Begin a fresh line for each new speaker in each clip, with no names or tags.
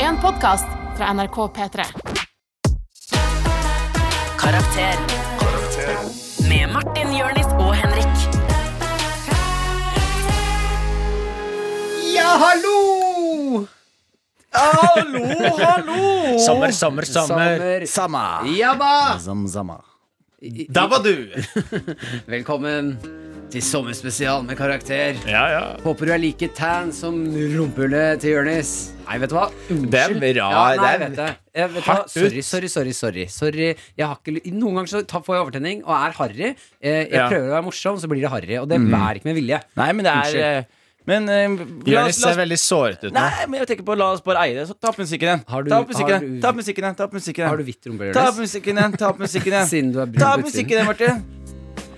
en podkast fra NRK P3.
Karakter. Med Martin, Jørnis og Henrik.
Ja, hallo!
Hallo, hallo!
Sommer, sommer, sommer.
Sommer.
Sama.
Jabba!
Zam, zama.
Da var du!
Velkommen til sommerspesial med karakter.
Ja, ja.
Håper du er like tan som rumpehullet til Jonis. Nei, vet du hva? Unnskyld.
Det er bra.
Ja, nei, jeg
det
vet
er...
det. Jeg vet du hva?
Hardt ut.
Sorry, sorry, sorry. sorry, sorry. Jeg har ikke, ly- noen ganger så tar- får jeg overtenning og er harry. Eh, Jeg
Ja. Mm.
prøver å være morsom, så blir det harry. Og det er ikke med vilje.
Nei, men det er
Unnskyld.
eh, Men eh, la
Jonis
oss, la
ser
oss
veldig såret ut nå.
Nei, men jeg tenker på la oss bare eie det. Så ta opp musikken igjen.
Har du-
ta opp
har
musikken
du-
igjen. Ta opp musikken igjen. Ta opp musikken
Har du
igjen.
hvitt rumpe,
Ta opp
Jonis?
musikken igjen. Ta opp musikken igjen.
Siden du er brun på
Ta opp musikken igjen, Martin.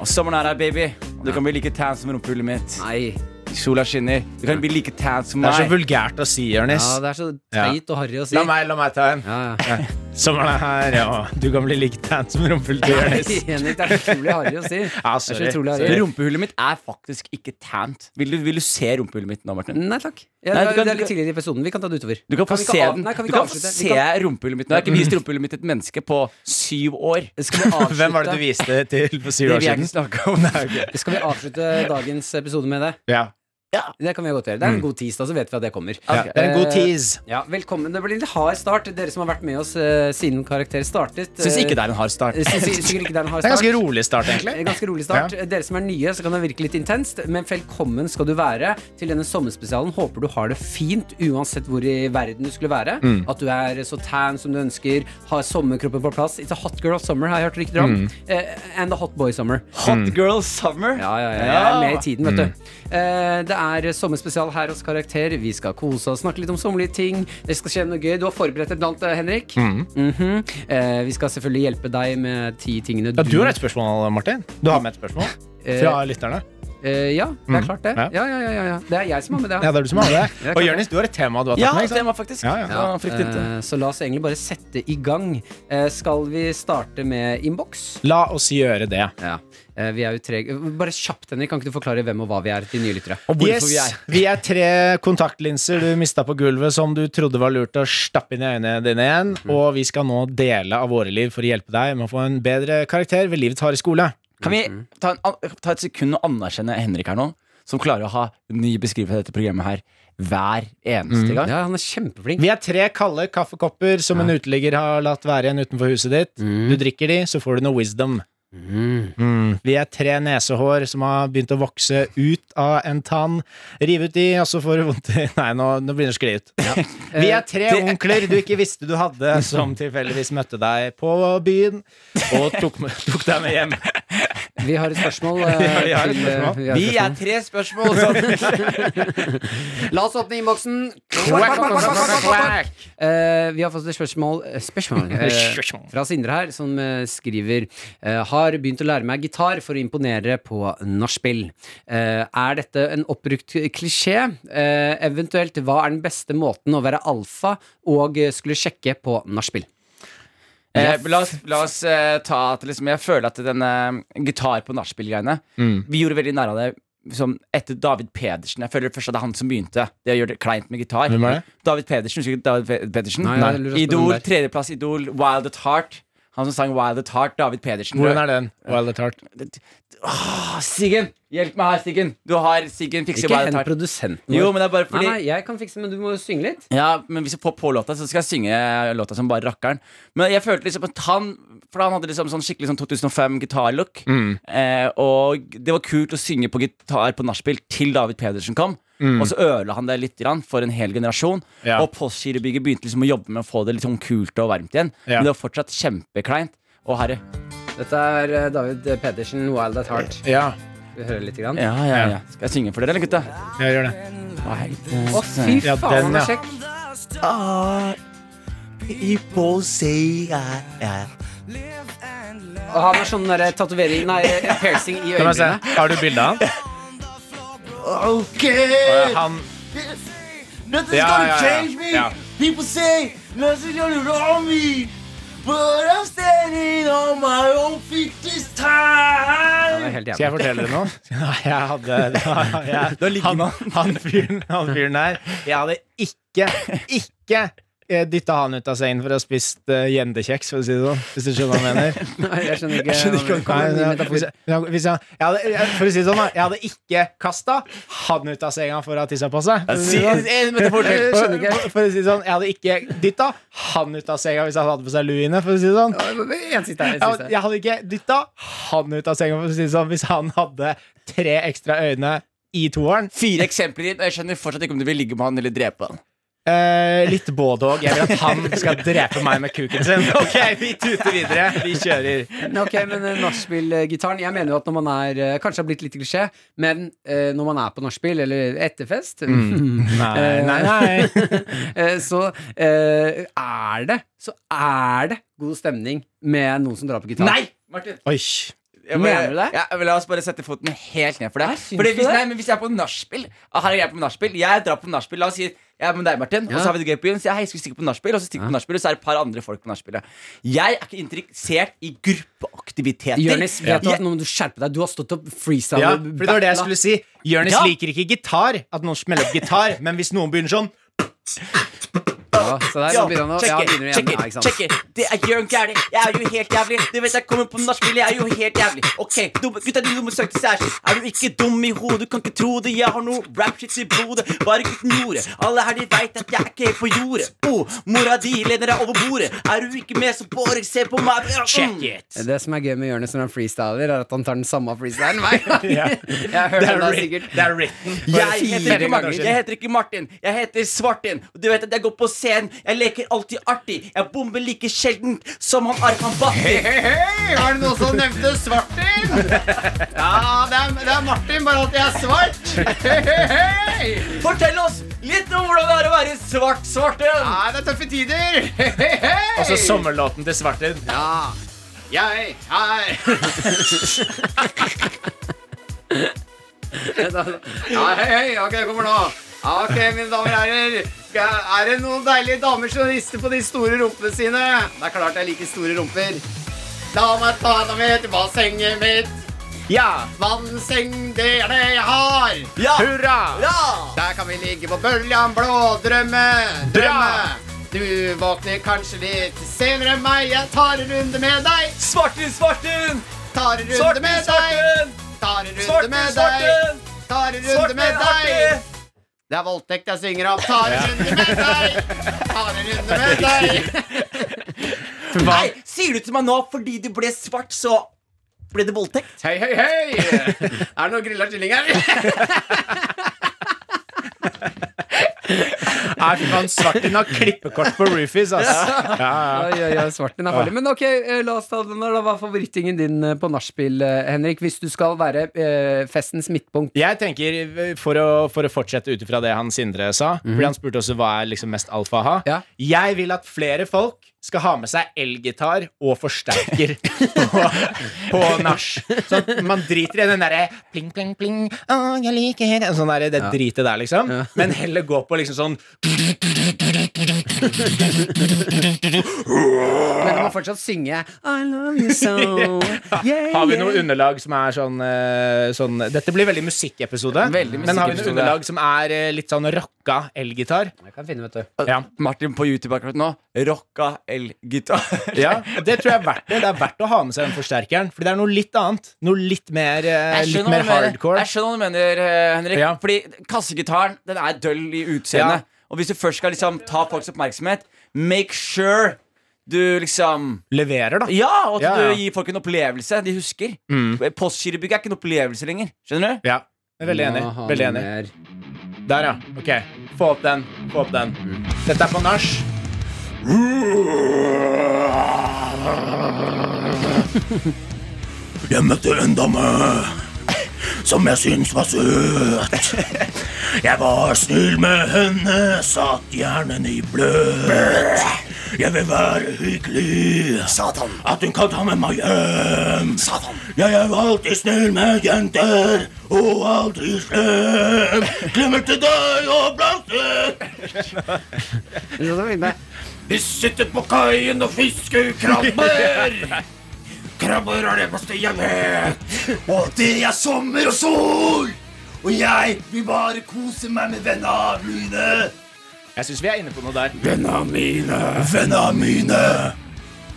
Og sommeren er her, baby. Du kan bli like tan som rumpehullet mitt.
Nei.
Sola skinner. Du kan bli like tan som
Det er så
meg.
vulgært å si, Jonis.
Ja, det er så teit og harry å si.
La meg, la meg ta en.
Ja, ja.
Sommeren er her, og du kan bli like tan som rumpehullet til Jonis.
Henrik, det er så utrolig harry å si.
Ja,
Det er så
sorry.
utrolig harry.
Rumpehullet mitt er faktisk ikke tant. Vil du, vil du se rumpehullet mitt nå, Martin?
Nei takk. Ja, det
Nei, du
er-
kan-
det er litt tidligere i episoden. Vi kan ta det utover.
Du kan få
vi ikke
se
av-
den.
Nei, kan vi
du
ikke
kan få
avslutte? Vi
se
kan-
rumpehullet mitt. Nå har jeg ikke vist rumpehullet mitt til et menneske på syv år.
Skal vi avslutte,
Hvem var det du viste til for syv
Det
år
vil jeg ikke
siden?
snakke om.
Nei, ok.
Skal vi avslutte dagens episode med det?
Ja.
Det kan vi godt gjøre. Det er en god tirsdag, så vet vi at det kommer.
Ja. Det er
eh,
en god tease.
Ja, velkommen. Det blir litt hard start, dere som har vært med oss eh, siden Karakter startet.
Syns ikke det er en hard start.
eh, Syns sikkert ikke det er en hard
Det er en
start.
ganske rolig start, egentlig.
Eh, Ganske rolig start. Dere som er nye, så kan det virke litt intenst, men velkommen skal du være til denne sommerspesialen. Håper du har det fint uansett hvor i verden du skulle være.
Mm.
At du er så tan som du ønsker, har sommerkroppen på plass. It's a hot girl summer, har jeg hørt rykter om.
Mm.
Eh, and a hot boy summer.
Hot girl summer.
Mm. Ja, ja, ja. Jeg er med i tiden, vet du.
Mm.
Eh, det er sommerspesial her hos Karakter. Vi skal kose oss, snakke litt om sommerlige ting. Det skal skje noe gøy. Du har forberedt et blant, eh, Henrik.
Mm.
Mhm. Eh, vi skal selvfølgelig hjelpe deg med ti tingene
Ja, du har et spørsmål, Martin. Du har med et spørsmål fra lytterne.
Eh, ja, det er klart det.
Mhm. Ja.
Ja, ja, ja, ja, ja. Det er jeg som har med det.
Ja, det er du som har det.
Jeg
Og
kan-
Jonis, du har et tema du har
Ja,
tatt med. ikke sant?
tema faktisk.
Ja, ja.
Det var fryktelig interessant.
Eh, så la oss egentlig bare sette i gang. Eh, skal vi starte med innboks?
La oss gjøre det.
Ja. Eh, vi er jo tre Bare kjapt, Henrik. Kan ikke du forklare hvem og hva vi er til nye lyttere?
Og hvorfor
Yes,
vi er
vi er tre kontaktlinser du mista på gulvet som du trodde var lurt å stappe inn i øynene dine igjen.
Mhm.
Og vi skal nå dele av våre liv for å hjelpe deg med å få en bedre karakter ved livets harde skole.
Kan vi
mm.
ta, en, an- ta et sekund og anerkjenne Henrik her nå, som klarer å ha ny beskrivelse av dette programmet her hver
Mm.
eneste gang?
Ja, han er kjempeflink.
Vi er tre kalde kaffekopper som en uteligger har latt være igjen utenfor huset ditt. Du drikker de, så får du noe wisdom. Mm. Vi er tre nesehår som har begynt å vokse ut av en tann. Riv ut de, og så får du vondt i Nei, nå, nå begynner det å skli ut. Vi er tre onkler du ikke visste du hadde, som tilfeldigvis møtte deg på byen og tok, med- tok deg med hjem.
Vi har et spørsmål. eh,
Ja, vi har et
til, eh,
spørsmål.
vi har et
Vi er tre spørsmål sammen.
La oss åpne innboksen. Eh, vi har fått et spørsmål, eh, spørsmål eh, fra Sindre her, som eh, skriver eh, Har begynt å lære meg gitar for å imponere på nachspiel. Eh, er dette en oppbrukt klisjé? Eh, eventuelt, hva er den beste måten å være alfa og eh, skulle sjekke på nachspiel?
Eh, la oss, la oss eh, ta at liksom, Jeg føler at den eh, gitar på nachspiel-greiene
Mm.
Vi gjorde veldig nær av det som etter David Pedersen. Jeg føler først at det er han som begynte. Det å gjøre det kleint med gitar.
Hvem er det?
David Pedersen. Husker du David Pe- Pedersen?
Nei, jeg lurer på
Idol,
hvem det
tredjeplass Idol, Wild at Heart. Han som sang Wild at Heart. David Pedersen.
Hvordan er den? Wild at heart.
Åh, Siggen! Ah, Hjelp meg her, Siggen. Du har Siggen fikser
Ikke
Wild
hent
at Heart.
produsenten
Jo,
vår.
men det er bare
Nei,
fordi
nei, jeg kan fikse, men du må jo synge litt.
Ja, men hvis jeg får på låta, så skal jeg synge låta som bare rakkeren. Men jeg følte liksom at han For han hadde liksom sånn skikkelig sånn 2005-gitarlook.
Mm.
Eh, og det var kult å synge på gitar på nachspiel til David Pedersen kom. Og så ødela han det litt grann for en hel generasjon.
Mm. Ja.
Og Postgirobygget begynte liksom å jobbe med å få det litt sånn kult og varmt igjen.
Ja.
Men det var fortsatt kjempekleint. Og herre.
Dette er eh, David Pedersen, Wild at Heart.
Ja,
Vi hører litt. Grann.
Ja, ja, ja. Skal jeg synge for dere, eller, gutta?
jeg gjør det.
Nei.
Å, fy
Ja,
faen,
den,
han
ja.
er kjekk. Og han har sånn der tatovering Nei, eh, piercing i
Kan jeg se.
øyebrynene.
Har du bilde av han?
Ok!
Å, Han
Nothing's
Oh, Ja, ja,
gonna
ja.
change me.
Ja.
People say nothing's gonna wrong me. But I'm standing on my own feet this
Det er
time.
helt
Skal jeg
jævlig.
fortelle deg noe? Nei, jeg hadde jeg,
Da ligger
han, han, fyren, han fyren der Jeg hadde ikke, ikke dytta han ut av sengen for å ha spist eh, gjendekjeks, for å si det sånn. Hvis du skjønner hva jeg mener.
Nei, jeg skjønner ikke.
Jeg skjønner ikke hva
Kom med
han
en ny
mener.
metafor.
Hvis jeg- hvis jeg- hvis jeg- jeg hadde- jeg- For å si det sånn, da. Jeg hadde ikke kasta han ut av senga for å ha tissa på seg. For å si det sånn.
Jeg skjønner ikke.
For- For å si det sånn, jeg hadde ikke dytta han ut av senga hvis han hadde på seg luene, for å si det sånn.
En siste her. En
Jeg,
siste her.
jeg hadde ikke dytta han ut av senga for å si det sånn, hvis han hadde tre ekstra øyne i toeren.
Fire eksempler igjen, og jeg skjønner fortsatt ikke om du vil ligge med han eller drepe han.
Eh, litt både òg. Jeg vil at han skal drepe meg med kuken sin. Ok, vi tuter videre. Vi kjører.
Nei, Ok, men eh, nachspiel-gitaren Jeg mener jo at når man er eh, Kanskje det har blitt litt klisjé, men eh, når man er på nachspiel eller etterfest
Mm. Nei,
Eh,
nei, nei.
eh, så eh, er det Så er det god stemning med noen som drar på gitar.
Martin
Oi.
jeg bare,
Mener du det?
Ja, men la oss bare sette foten helt ned for det.
Nei, syns
Fordi
du
hvis,
det?
nei, men hvis jeg er på nachspiel ah, Her er jeg på nachspiel. Jeg drar på nachspiel. La oss si jeg er med deg, Martin. Og
Ja.
så har vi det gøy på byen. Så jeg, hei, skal vi stikke på nachspiel? Og så stikker vi på nachspiel, og så er det et par andre folk på nachspielet. Jeg er ikke interessert i gruppeaktiviteter.
Jonis, vet du
Jeg-
at nå må du skjerpe deg. Du har stått opp freestyle.
Ja, for det var det jeg skulle si. Jonis
Ja.
liker ikke gitar. At noen smeller opp gitar. Men hvis noen begynner sånn
Ja, så der,
Ja,
nå begynner han å- ja,
checker,
begynner igjen.
checker,
Ja, ikke sant?
checker. Det er Jørn Gæli. Jeg er jo helt jævlig. Du vet jeg kommer på nachspiel, jeg er jo helt jævlig. Ok, dumme, gutta de dumme søkte særskilt. Er du ikke dum i hodet, kan ikke tro det. Jeg har noe rap-shit i blodet. Bare gutten gjorde. Alle her de veit at jeg er ikke helt på jordet. Oh, mora di lener deg over bordet. Er du ikke med, så bare se på meg. Mm.
Check it.
Eh, Det som er gøy med Jonis når han freestyler, er at han tar den samme freestylen hver gang. Jeg har hørt
Det er,
den da
writ-
sikkert.
det er written.
Jeg
fire
heter, ikke
ganger
Martin.
siden.
jeg heter ikke Martin, jeg heter Svartin. Og du vet at jeg går på scenen, jeg leker alltid artig. Jeg bomber like sjelden som han Arkan Batti.
Var det noen som nevnte Svartin? Ja, det er, Martin, bare at jeg er svart.
Fortell oss litt om hvordan det er å være svart svarten.
det er tøffe tider. Og
Altså,
så sommerlåten til Svartin.
Ja.
Jeg er
Ja, hei, hei, ok, jeg kommer nå. Ja, Ok, mine damer og herrer. Skal- Er det noen deilige damer som rister på de store rumpene sine? Det er klart jeg liker store rumper. La meg ta henne med til bassenget mitt.
Ja!
Vannseng, det er det jeg har.
Ja!
Hurra!
ja!
Der kan vi ligge på bølgen blå. Drømme, drømme.
Bra!
Du våkner kanskje litt senere enn meg. Jeg tar en runde med deg.
Svartin, svartin!
Tar en runde
Svartin,
med deg.
svartin!
Tar en runde
Svartin,
med deg.
svartin!
Tar en runde
Svartin,
med deg.
artig!
Det er voldtekt jeg synger om. Tar en runde med deg. Tar en runde med deg.
Nei, sier du til meg nå fordi du ble svart, så ble det voldtekt?
Hei, hei, hei. Er det noe grilla kylling her?
Nei, fy faen, Svartin har klippekort på Rufus, ass. Ja, ja.
Oi, oi, oi, svarten er farlig. Men ok, eh, la oss ta den der. da. Hva er favorittingen din eh, på nachspiel, eh, Henrik? Hvis du skal være eh, festens midtpunkt.
Jeg tenker, eh, For å, for å fortsette ut ifra det han Sindre sa Fordi Han spurte også hva er liksom mest alfa å ha.
Ja.
Jeg vil at flere folk skal ha med seg elgitar og forsterker på, på nach. Sånn at man driter i den derre pling, pling, pling. Å, jeg liker det. Sånn der, det dritet der, liksom. Men heller gå på liksom sånn
Men du må fortsatt synge I love you so. Yeah,
Har vi noe
yeah.
underlag som er sånn, eh, sånn Dette blir veldig musikkepisode.
Veldig
men har vi noe
musikkepisode.
underlag som er eh, litt sånn rocka elgitar?
Jeg kan finne, vet du.
Ja.
Martin på YouTube akkurat nå rocka elgitar.
Ja, det tror jeg er verdt det. Det er verdt å ha med seg den forsterkeren. Fordi det er noe litt annet. Noe litt mer, eh,
Jeg
litt
skjønner hva
mer
du mener.
hardcore.
Jeg skjønner hva du mener, eh, Henrik.
Ja.
Fordi kassegitaren den er døll i utseendet. Og hvis du først skal liksom ta folks oppmerksomhet, make sure du liksom
Leverer, da.
Ja, og at
Ja, ja. Mm.
du gir folk en opplevelse de husker. Postgirobygget er ikke en opplevelse lenger. Skjønner du?
Ja. Jeg er veldig enig.
Må ha
Veldig
noe mer.
enig. Der, ja. Ok. Få opp den. Få opp den. Dette er på nach.
Jeg møtte en dame som jeg syns var søt. Jeg var snill med henne, satt hjernen i bløt. Jeg vil være hyggelig, Satan. at hun kan ta med meg hjem. Satan. Jeg er alltid snill med jenter og aldri slem. Klemmer til deg og blanke.
Men så fint, det.
Vi sitter på kaien og fisker krabber. Krabber er det beste jeg vet. Og det er sommer og sol. Og jeg vil bare kose meg med vennene mine.
Jeg syns vi er inne på noe der.
Venna mine. Venna mine.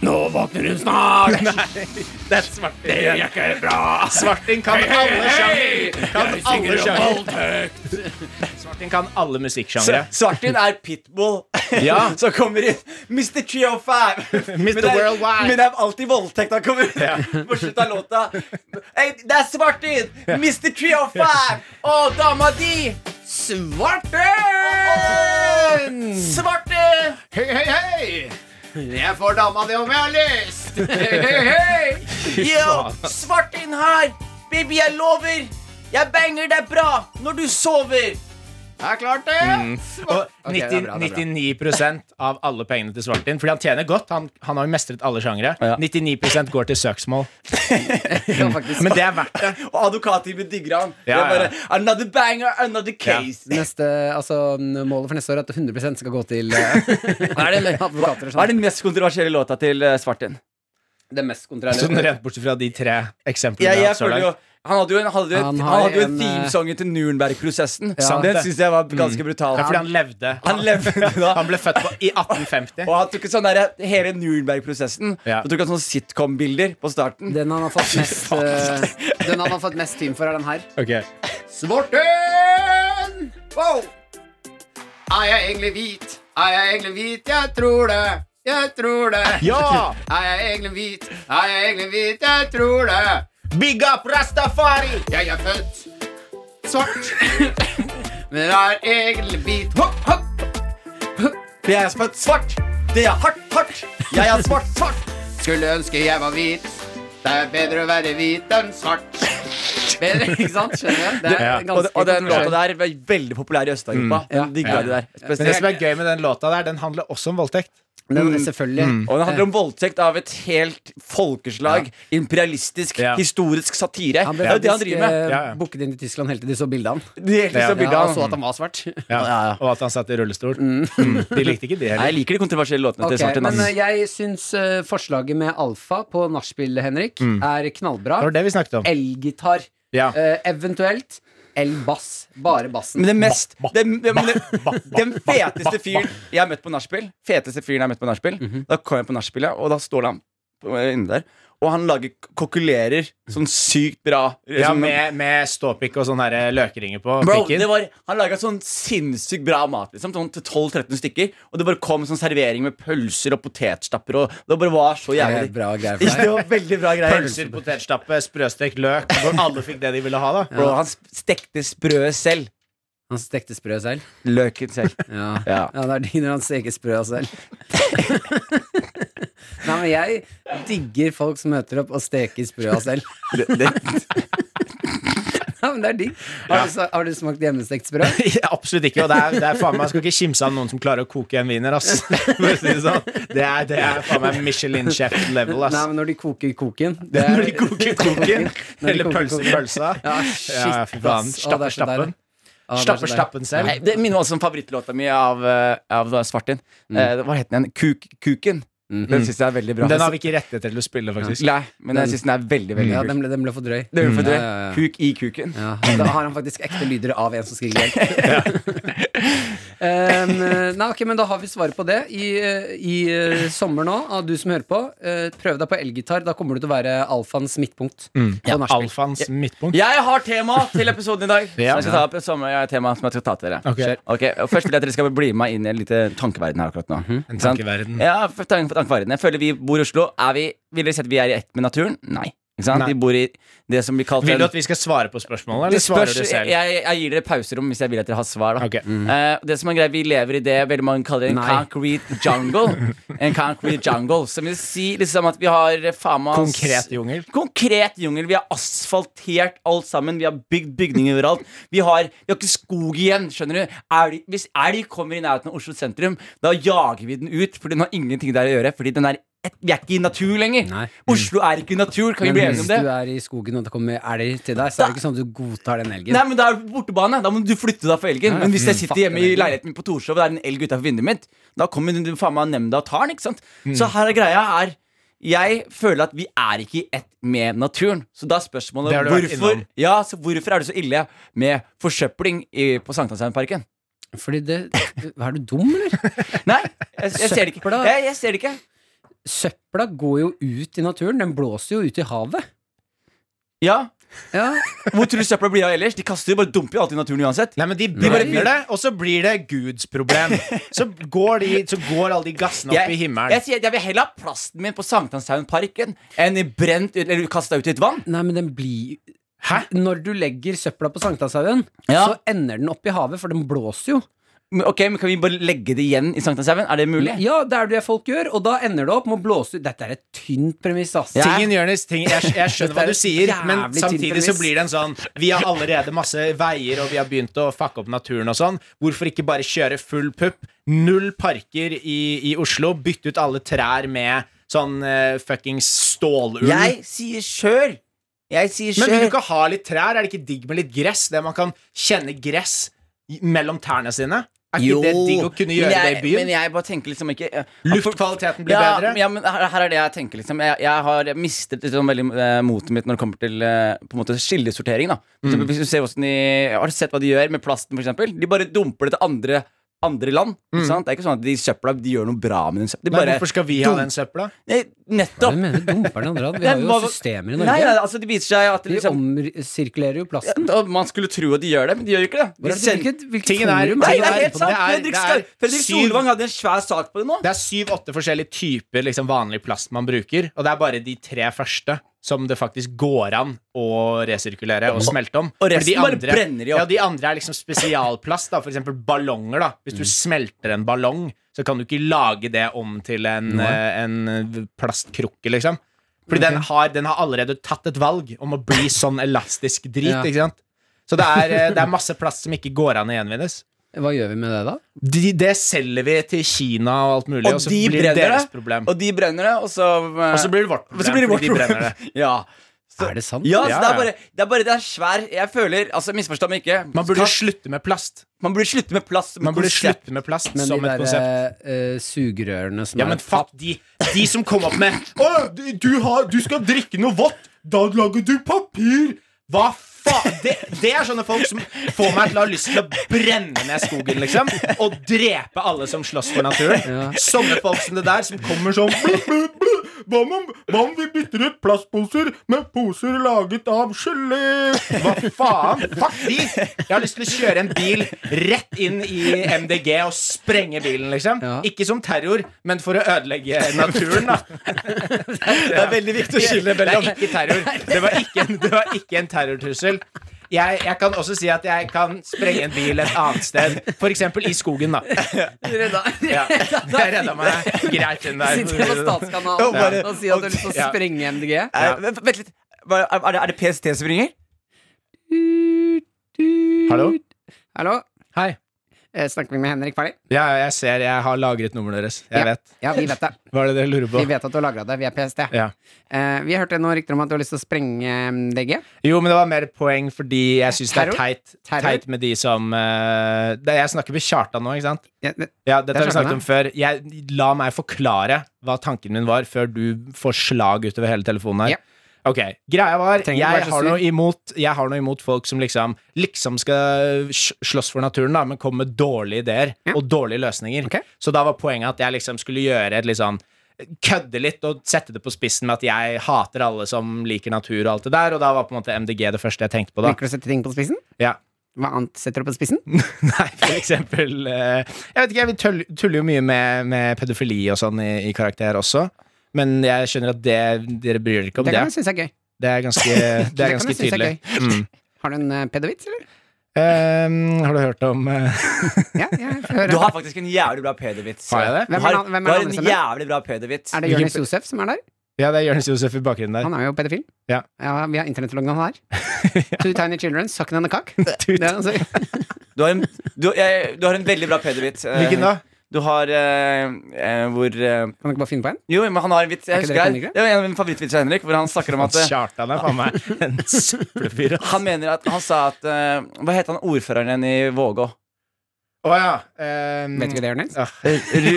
Nå våkner hun snart.
Det er svart.
Det gjør jeg ikke bra.
Svarting kan alle
Hei,
sjangre. Kan alle
jeg synger om
sjangre.
voldtekt.
Svarting kan alle musikksjangre.
Svartin Altså, er pitbull
Ja.
som kommer inn. Mr. 305. men, det er,
Worldwide.
men det er alltid voldtekt han kommer
Ja.
inn på slutten av låta. Hey, det er Svartin! Mr. 305! Og dama di! Svartin! Svartin!
Hei, hei, hei! Jeg får dama di om jeg har lyst.
Yo, Svartin her! Baby, jeg lover! Jeg banger deg bra når du sover!
Jeg klarte det.
Mm.
Og 90, 99 av alle pengene til Svartin Fordi han tjener godt. Han, han har jo mestret alle sjangre.
Ja.
99 går til søksmål.
Ja, faktisk.
Men det er verdt det.
Og advokatteamet digger han.
Ja,
Det er
ja.
bare, another banger, another case.
Neste, altså, målet for neste år er at 100 skal gå til eh, advokater og
Hva er
sånn.
den mest kontroversielle låta til eh, Svartin?
Det mest
Sånn
kontrære.
rent bortsett fra de tre eksemplene. vi
Jeg,
har
jeg
hatt så
føler jo
langt.
han hadde jo en, hadde jo et,
Han
han
har
hadde jo en
en, eh,
themesong til Nurenberg-prosessen.
Sant
Den
det.
syns jeg var ganske brutal.
ja, fordi han levde.
Han levde da.
Han ble født på, i 1850.
Og han tok sånn der, hele Nurenberg-prosessen
Ja.
Og tok han sånne sitcom-bilder på starten.
Den han har fått mest eh, Den han har fått mest team for, er den her.
Ok.
Svarten! Wow! Er jeg egentlig hvit? Er jeg egentlig hvit? Jeg tror det. Jeg tror det.
Ja!
Er jeg egentlig hvit? Er jeg egentlig hvit? Jeg tror det.
Big up Rastafari!
Jeg er født svart. Men jeg er egentlig hvit. Hopp, hopp.
Jeg er født svart. Det er hardt, hardt. Jeg er svart, svart.
Skulle ønske jeg var hvit. Det er bedre å være hvit enn svart. Bedre, ikke sant? Skjønner du? Det
Ja.
er
Og,
ganske
og den låta der var veldig populær i
Mm.
Øst-Europa.
Ja.
Den digga
Ja.
de der.
Men det
Spesielt.
som er gøy med den låta der, den handler også om voldtekt.
Den,
Mm.
selvfølgelig.
Og den handler om voldtekt av et helt folkeslag. Imperialistisk,
Ja.
historisk satire.
Han
Det
ble
er jo det han
faktisk
driver med.
Ja, ja.
eh, booket inn til Tyskland helt til de så bildet av han.
Det er helt liksom
Ja.
bildet
Ja,
av
og
han.
så at han var svart.
Ja.
Ja, ja.
Og at han satt i rullestol. Mm. De likte ikke de
Nei,
heller.
Jeg liker de kontroversielle låtene
Ok,
til Svartin.
men
ass.
eh, jeg syns eh, forslaget med alfa på nachspiel, Henrik,
Mm.
er knallbra.
Det var det vi snakket om.
Elgitar.
Ja.
Eh, eventuelt elbass. Bare bassen.
Men det mest
Ba, ba,
den, den,
ba,
den, den feteste fyren jeg har møtt på nachspiel Feteste fyren jeg har møtt på nachspiel Da kom jeg på nachspiel, ja, og da står han på- eh, inne der. Og han lager k- kokulerer sånn sykt bra.
Ja,
sånn-
med, med ståpikk og sånne her løkringer på
Bro,
pikken.
det var, han laga sånn sinnssykt bra mat. Liksom, sånn til 12-13 stykker. Og det bare kom sånn servering med pølser og potetstapper. Og det bare var så
Det er
jævlig
bra greier for
Det
deg.
var veldig bra greier.
Pølser, potetstappe, sprøstekt løk. Hvor alle fikk det de ville ha, da.
Bro, han sp- stekte sprø selv.
Han stekte sprø selv.
Løken selv.
Ja.
Ja.
ja, det er de når han steker sprø selv. Nei, men jeg digger folk som møter opp og steker sprø selv.
Det, det,
Ja, men det er digg. Har, du, har du smakt hjemmestekt sprø?
Ja, absolutt ikke. Og det er, det er faen meg, jeg skal ikke kimse av noen som klarer å koke en wiener, ass. For å si Det, sånn. det, er, det er faen meg Michelin-chef-level, ass.
Nei, men når de koker koken
Det er når de koker
Når
koken.
de
Eller
koker
pølse i
koken.
pølsa.
Ja, shit,
Ja, fy faen.
ass. Å, det er så deilig.
Stapper stappen.
Å, det er så
Stapper
deilig.
stappen selv.
Nei, det minner også om favorittlåta mi av, eh, av Svartin. Eh, hva het den igjen? Kuk, kuken. Den syns jeg er veldig bra.
altså-
Den har vi ikke rettigheter til å spille, faktisk.
Nei, men jeg syns den er veldig, veldig
Ja,
kul.
den ble, den ble for drøy. Mm.
Det er jo for det.
Ja, ja, ja.
Kuk i kuken.
Mm. Ja, da har han faktisk ekte lyder av en som skriker hjelp. um, nei, ok, men da har vi svaret på det. I, eh, i eh, sommer nå, av du som hører på, eh, prøv deg på elgitar. Da kommer du til å være alfans midtpunkt.
Mm.
På nachspiel.
Alfans midtpunkt.
Jeg har tema til episoden i dag. Så
Ja.
jeg skal ta opp samme tema som jeg skal ta til dere.
Ok.
Kjør. Ok, og Først vil jeg at dere skal bli med meg inn i en liten tankeverden her akkurat nå.
En
Ikke sant?
Mhm. tankeverden.
Ja, for tank, for tankeverden. Jeg føler vi bor i Oslo. Er vi, vil dere si at vi er i ett med naturen? Nei. Ikke sant?
Nei.
Vi bor i det som blir kalt
Vil
en-
du at vi skal svare på spørsmålet, eller
Det
svarer
spørs-
du selv?
Jeg, jeg gir dere pauserom hvis jeg vil at dere har svar. Da.
Ok. Mhm.
Eh, det som er greit, Vi lever i det veldig mange kaller en
Nei.
concrete jungle. En concrete jungle Som vil si liksom at vi har eh, faen meg ass-
Konkret jungel.
Konkret jungel. Vi har asfaltert alt sammen. Vi har bygd bygninger overalt. Vi har, vi har ikke skog igjen, skjønner du. Elg, hvis elg kommer i nærheten av Oslo sentrum, da jager vi den ut, for den har ingenting der å gjøre. Fordi den er et, vi er ikke i natur lenger.
Nei.
Oslo er ikke i natur. Kan vi
Men
bli enige
hvis
om det?
du er i skogen og det kommer elg til deg, så er det ikke sånn at du godtar den elgen.
Nei, men det er på bortebane. Da må du flytte deg for elgen. Men
Mm,
hvis jeg sitter
Fuck
hjemme
den
i
elgen.
leiligheten min på Torshov, og det er en elg utafor vinduet mitt, da kommer den faen meg nemnda og tar den, ikke sant?
Mm.
Så her er greia er jeg føler at vi er ikke i ett med naturen. Så da er spørsmålet
Det har du vært
hvorfor,
innom.
ja, så hvorfor er det så ille med forsøpling i, på Sankthansheimerparken?
Fordi det Er du dum, eller?
Nei, jeg, jeg ser det ikke.
Søpla.
Jeg, jeg ser det ikke.
Søpla går jo ut i naturen. Den blåser jo ut i havet.
Ja.
Ja,
Hvor tror du søpla blir av ellers? De kaster jo bare dumper jo alt i naturen uansett.
Nei, men De
bare-
brenner det, og så blir det Guds problem. Så går, de, så går alle de gassene opp i himmelen.
jeg, sier at jeg vil heller ha plasten min på Sankthanshaugenparken enn i brent ut- eller kasta ut i et vann.
Nei, men den blir
Hæ?
Når du legger søpla på Sankthanshaugen,
Ja.
så ender den opp i havet, for den blåser jo.
Men, ok, men Kan vi bare legge det igjen i Sankthanshaugen? Er det mulig?
Ja, det er det folk gjør, og da ender det opp med å blåse ut. Dette er et tynt premiss, ass.
Ja.
Tingen, Jonis, ting, jeg, jeg skjønner hva du sier, men
Jævlig
samtidig
tilfeldigvis.
så blir det en sånn Vi har allerede masse veier, og vi har begynt å fucke opp naturen og sånn. Hvorfor ikke bare kjøre full pupp? Null parker i, i Oslo. Bytte ut alle trær med sånn uh, fuckings stålull.
Jeg sier sjøl! Jeg sier
Men vil du
sjøl!
ikke ha litt trær? Er det ikke digg med litt gress? Der man kan kjenne gress i- mellom tærne sine? Er ikke det digg å kunne gjøre
men jeg,
det i byen?
Men jeg bare tenker liksom ikke eh,
Luftkvaliteten blir
ja,
bedre.
Ja, men her, her er det jeg tenker liksom Jeg, jeg har mistet liksom, veldig eh, motet mitt når det kommer til eh, På en måte skillesortering da For
Mm.
eksempel, Hvis du ser hvordan de Har du sett hva de gjør med plasten for eksempel? De bare dumper det til andre andre land, ikke sant? Det er ikke sånn at de søpla, de gjør noe bra med den søpla De
Mm. Nei,
bare,
hvorfor skal vi ha den søpla?
Nei, nettopp
Hvem mener du dumper den andre? av? Vi
Nei,
har jo
hva-
systemer i
Nei, nei,
Norge.
altså det viser seg at det
Vi
liksom
omsirkulerer jo
ja,
plasten.
og Man skulle tro at de gjør det, men de gjør jo ikke det
Hvor
de
er det-
sender-
Hvilket, hvilket
Tingen er-
forum
Nei,
er
det
det
er
du på?
helt sant,
Det er-
Fredrik,
det er
Skar- Fredrik
syv-
Solvang hadde en svær sak på det nå
Det er syv-åtte forskjellige typer liksom, vanlig plast man bruker, og det er bare de tre første som det faktisk går an å resirkulere og smelte om.
og resten
Fordi de
bare brenner de opp.
Ja, de andre er liksom spesialplast, da. for eksempel ballonger. Da. Hvis du
Mm.
smelter en ballong, så kan du ikke lage det om til en, eh, en plastkrukke, liksom. Fordi den, har, den har allerede tatt et valg om å bli sånn elastisk drit,
Ja.
ikke sant? Så det er, eh, det er masse plast som ikke går an å gjenvinnes.
Hva gjør vi med det, da?
De, det selger vi til Kina og alt mulig, og,
Og
så
de
blir det
brenner
deres
det.
problem.
Og de brenner det, og så eh,
Og så blir det vårt
Og så blir det vårt
fordi de
problem.
brenner det.
ja. Så-
Er det sant?
Ja, så
Ja,
det er
ja.
bare det er, bare, det er svær Jeg føler Altså, misforstå meg ikke.
Man burde
Ta-
slutte med plast.
man burde slutte med plast. som
Man burde
konsept.
slutte med plast
Men
som
de
et
der
konsept.
eh, sugerørene som
Ja,
er
men fuck de, de som kom opp med Å, du, du, har, du skal drikke noe vått! Da lager du papir! Hva faen? Det, det er sånne folk som får meg til å ha lyst til å brenne ned skogen, liksom. Og drepe alle som slåss for naturen.
Ja.
Sånne folk som det der, som kommer sånn blu, blu, blu. Hva om, hva om vi bytter ut plastposer med poser laget av gelé? Hva faen? Fuck de! Jeg har lyst til å kjøre en bil rett inn i MDG og sprenge bilen, liksom.
Ja.
Ikke som terror, men for å ødelegge naturen, da.
Det er veldig viktig å skille
Det
mellom
er ikke terror. Det var ikke en, det var ikke en terrortrussel. Jeg, jeg kan også si at jeg kan sprenge en bil et annet sted, f.eks. i skogen, da. Ja. Jeg redda meg greit inn der.
Sitter på
Og bare-
Statskanalen og sier at du har lyst til å
Ja.
sprenge MDG.
Eh, vent- Vent litt. Hva- Er det, er det PST som ringer?
Hallo?
Hallo?
Hei.
Eh, Snakker vi med Henrik Farley?
Ja, ja, jeg ser. Jeg har lagret nummeret deres. Jeg
Ja.
vet.
Ja, vi vet det.
Hva er det dere lurer på?
Vi vet at du har lagra det. Vi er PST.
Ja.
Eh, vi hørte noen rykter om at du har lyst til å sprenge mm, MDG.
Jo, men det var mer et poeng fordi jeg syns det er
Terror?
teit,
Terror?
teit med de som eh, det, Jeg snakker med Kjartan nå, ikke sant?
Ja, det-
Ja, dette har vi
Kjartan,
snakket om før. Jeg, la meg forklare hva tanken min var, før du får slag utover hele telefonen her.
Ja.
Ok, Greia var
Trenger
jeg
ikke være så
har,
sur.
noe imot, jeg har noe imot folk som liksom Liksom skal sj- slåss for naturen, da, men kommer med dårlige ideer
Ja.
og dårlige løsninger.
Ok.
Så da var poenget at jeg liksom skulle gjøre et litt sånn Kødde litt og sette det på spissen med at jeg hater alle som liker natur og alt det der, og da var på en måte MDG det første jeg tenkte på, da.
Liker du å sette ting på spissen?
Ja.
Hva annet setter du på spissen?
Nei, for eksempel eh, Jeg vet ikke, jeg vil tull- tuller jo mye med, med pedofili og sånn i, i karakter også. Men jeg skjønner at det, dere bryr dere ikke om
Det
det.
kan jeg synes er gøy.
Det er ganske, det
kan
er
jeg
ganske
synes er
tydelig. Mm.
Har du en eh, pedovits, eller?
Ehm, har du hørt om eh,
Ja, ja, få høre.
Du har faktisk en jævlig bra PD-vits.
Har jeg det?
Du
Hvem er
har,
den- hvem er
du har
den andre
en
som er?
jævlig bra PD-vits.
Er det Jonis Josef som er der?
Ja, det er Jonis Josef i bakgrunnen der.
Han er jo pedofil.
Ja.
vi har internettloggene han her. Two tiny children, sucking on a cock.
Tut.
Det er altså-
Du har en, du, jeg, du har en veldig bra PD-vits. eh,
Hvilken da?
Du har eh, eh, hvor eh,
Kan du ikke bare finne på en?
Jo, men han har en vits.
Er
Jeg
ikke
husker
dere
jeg,
komikere?
det var en av mine favorittvitser av Henrik, hvor han snakker om at eh,
Kjartan er faen meg en søppelfyr. ass.
Han mener at Han sa at eh, Hva het han ordføreren igjen i Vågå?
Å ja. ehm,
Vet du hva det er, Nils?
ja.
Ru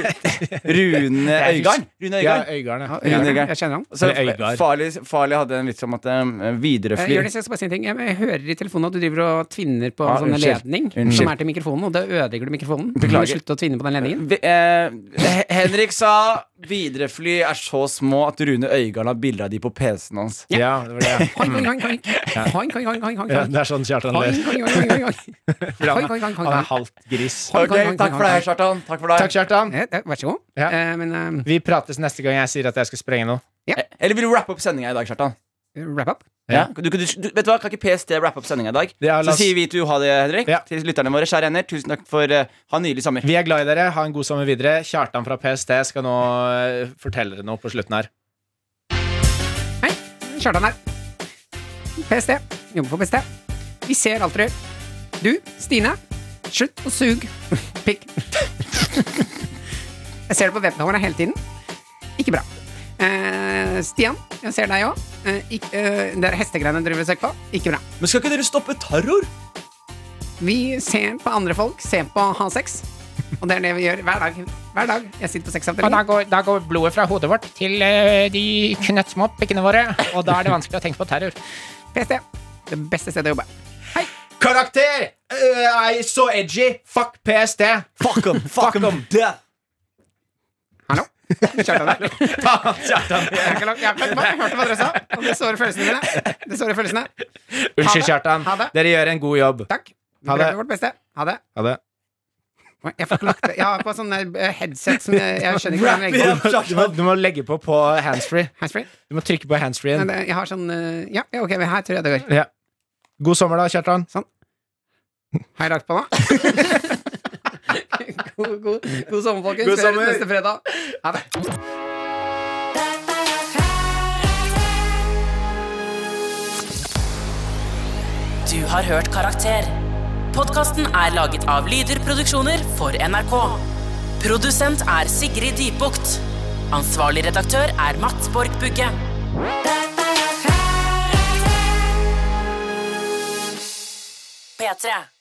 Rune Øygarden. Rune
Ja,
Øygarden.
Øygarden. ja.
Rune Øygarden.
Jeg kjenner han.
Så
Eller Øygard.
Farlig, farlig hadde en vits om at um,
Eh,
videreflyr
Jonis, jeg skal bare si en ting. Jeg, jeg hører i telefonen at du driver og tvinner på
Ah,
en sånn
unnskyld.
ledning
Unnskyld.
som er til mikrofonen, og da ødelegger du mikrofonen.
Beklager.
Du må slutte å tvinne på den
Mm.
ledningen.
Vi- eh, He- Henrik sa viderefly er så små at Rune Øygarden har bilde av de på PC-en hans.
ja, det var det.
Hoing, hoing, hoing, hoing. Hoing, hoing, hoing, hoing, hoing.
Ja, det er sånn Kjartan
Hoing,
ler.
hoing, hoing, hoing, hoing. Hoing, hoing, hoing,
Han er
hoing.
halvt gris.
Ok, Takk for deg, Kjartan. Takk for
Takk,
deg.
Kjartan.
Eh, eh, Vær så god.
Ja.
Eh, Men eh,
Vi prates neste gang jeg sier at jeg skal sprenge noe.
Eh, Eller vil du rappe opp sendinga i dag, Kjartan?
eh, wrap up.
Ja. Du, du, du, vet du hva, Kan ikke PST rappe opp sendinga i dag?
Ja, la
så
oss-
sier vi to ha det, Henrik.
Ja.
Til lytterne våre. Kjære venner, tusen takk for eh, Ha en nydelig sommer.
Vi er glad i dere. Ha en god sommer videre. Kjartan fra PST skal nå eh, fortelle dere noe på slutten her.
Hei, Kjartan her. PST. Jobber for PST. Vi ser alt dere gjør. Du, Stine. Slutt å suge pikk. Jeg ser det på webkameraene hele tiden. Ikke bra. Eh, Stian, jeg ser deg òg. Eh, ikk- eh, det er hestegreiene dere vil søke på. Ikke bra.
Men skal ikke dere stoppe terror?
Vi ser på andre folk, ser på å ha sex. Og det er det vi gjør hver dag. Hver dag. Jeg sitter på
Og da
sexavdelingen.
går, da går blodet fra hodet vårt til eh, de knøttsmå pikkene våre, og da er det vanskelig å tenke på terror.
PST. Det beste stedet å jobbe.
Karakter! Øh, ei, så edgy! Fuck PST!
Fuck em, fuck em, death.
Hallo? Kjartan her.
Kjartan.
Jeg har ikke lagt- jeg har ikke lagt meg. Jeg hørte hva dere sa. Og det sårer følelsene mine. Det sårer følelsene. Ha
Unnskyld,
det.
Kjartan.
Ha det.
Dere gjør en god jobb.
Takk. Vi
Ha det.
prøver vårt beste. Ha det.
Ha det.
Oi, Jeg får ikke lagt det. Jeg har på sånn eh, headset som jeg, jeg skjønner ikke hvordan jeg
Du
legger på.
må, du må, du må legge på på handsfree.
Handsfree.
Du må trykke på
Men
handsfree-en.
det- Jeg har sånn eh, Ja, ja, ok, men her tror jeg det går.
Ja. God sommer, da, Kjartan.
Har jeg lagt på nå? God, god, god sommer, folkens.
God
Vi høres
sommer.
neste fredag. Ha det.
Du har hørt Karakter. Podkasten er laget av Lyder Produksjoner for NRK. Produsent er Sigrid Dybukt. Ansvarlig redaktør er Mats Borg Bugge. P3.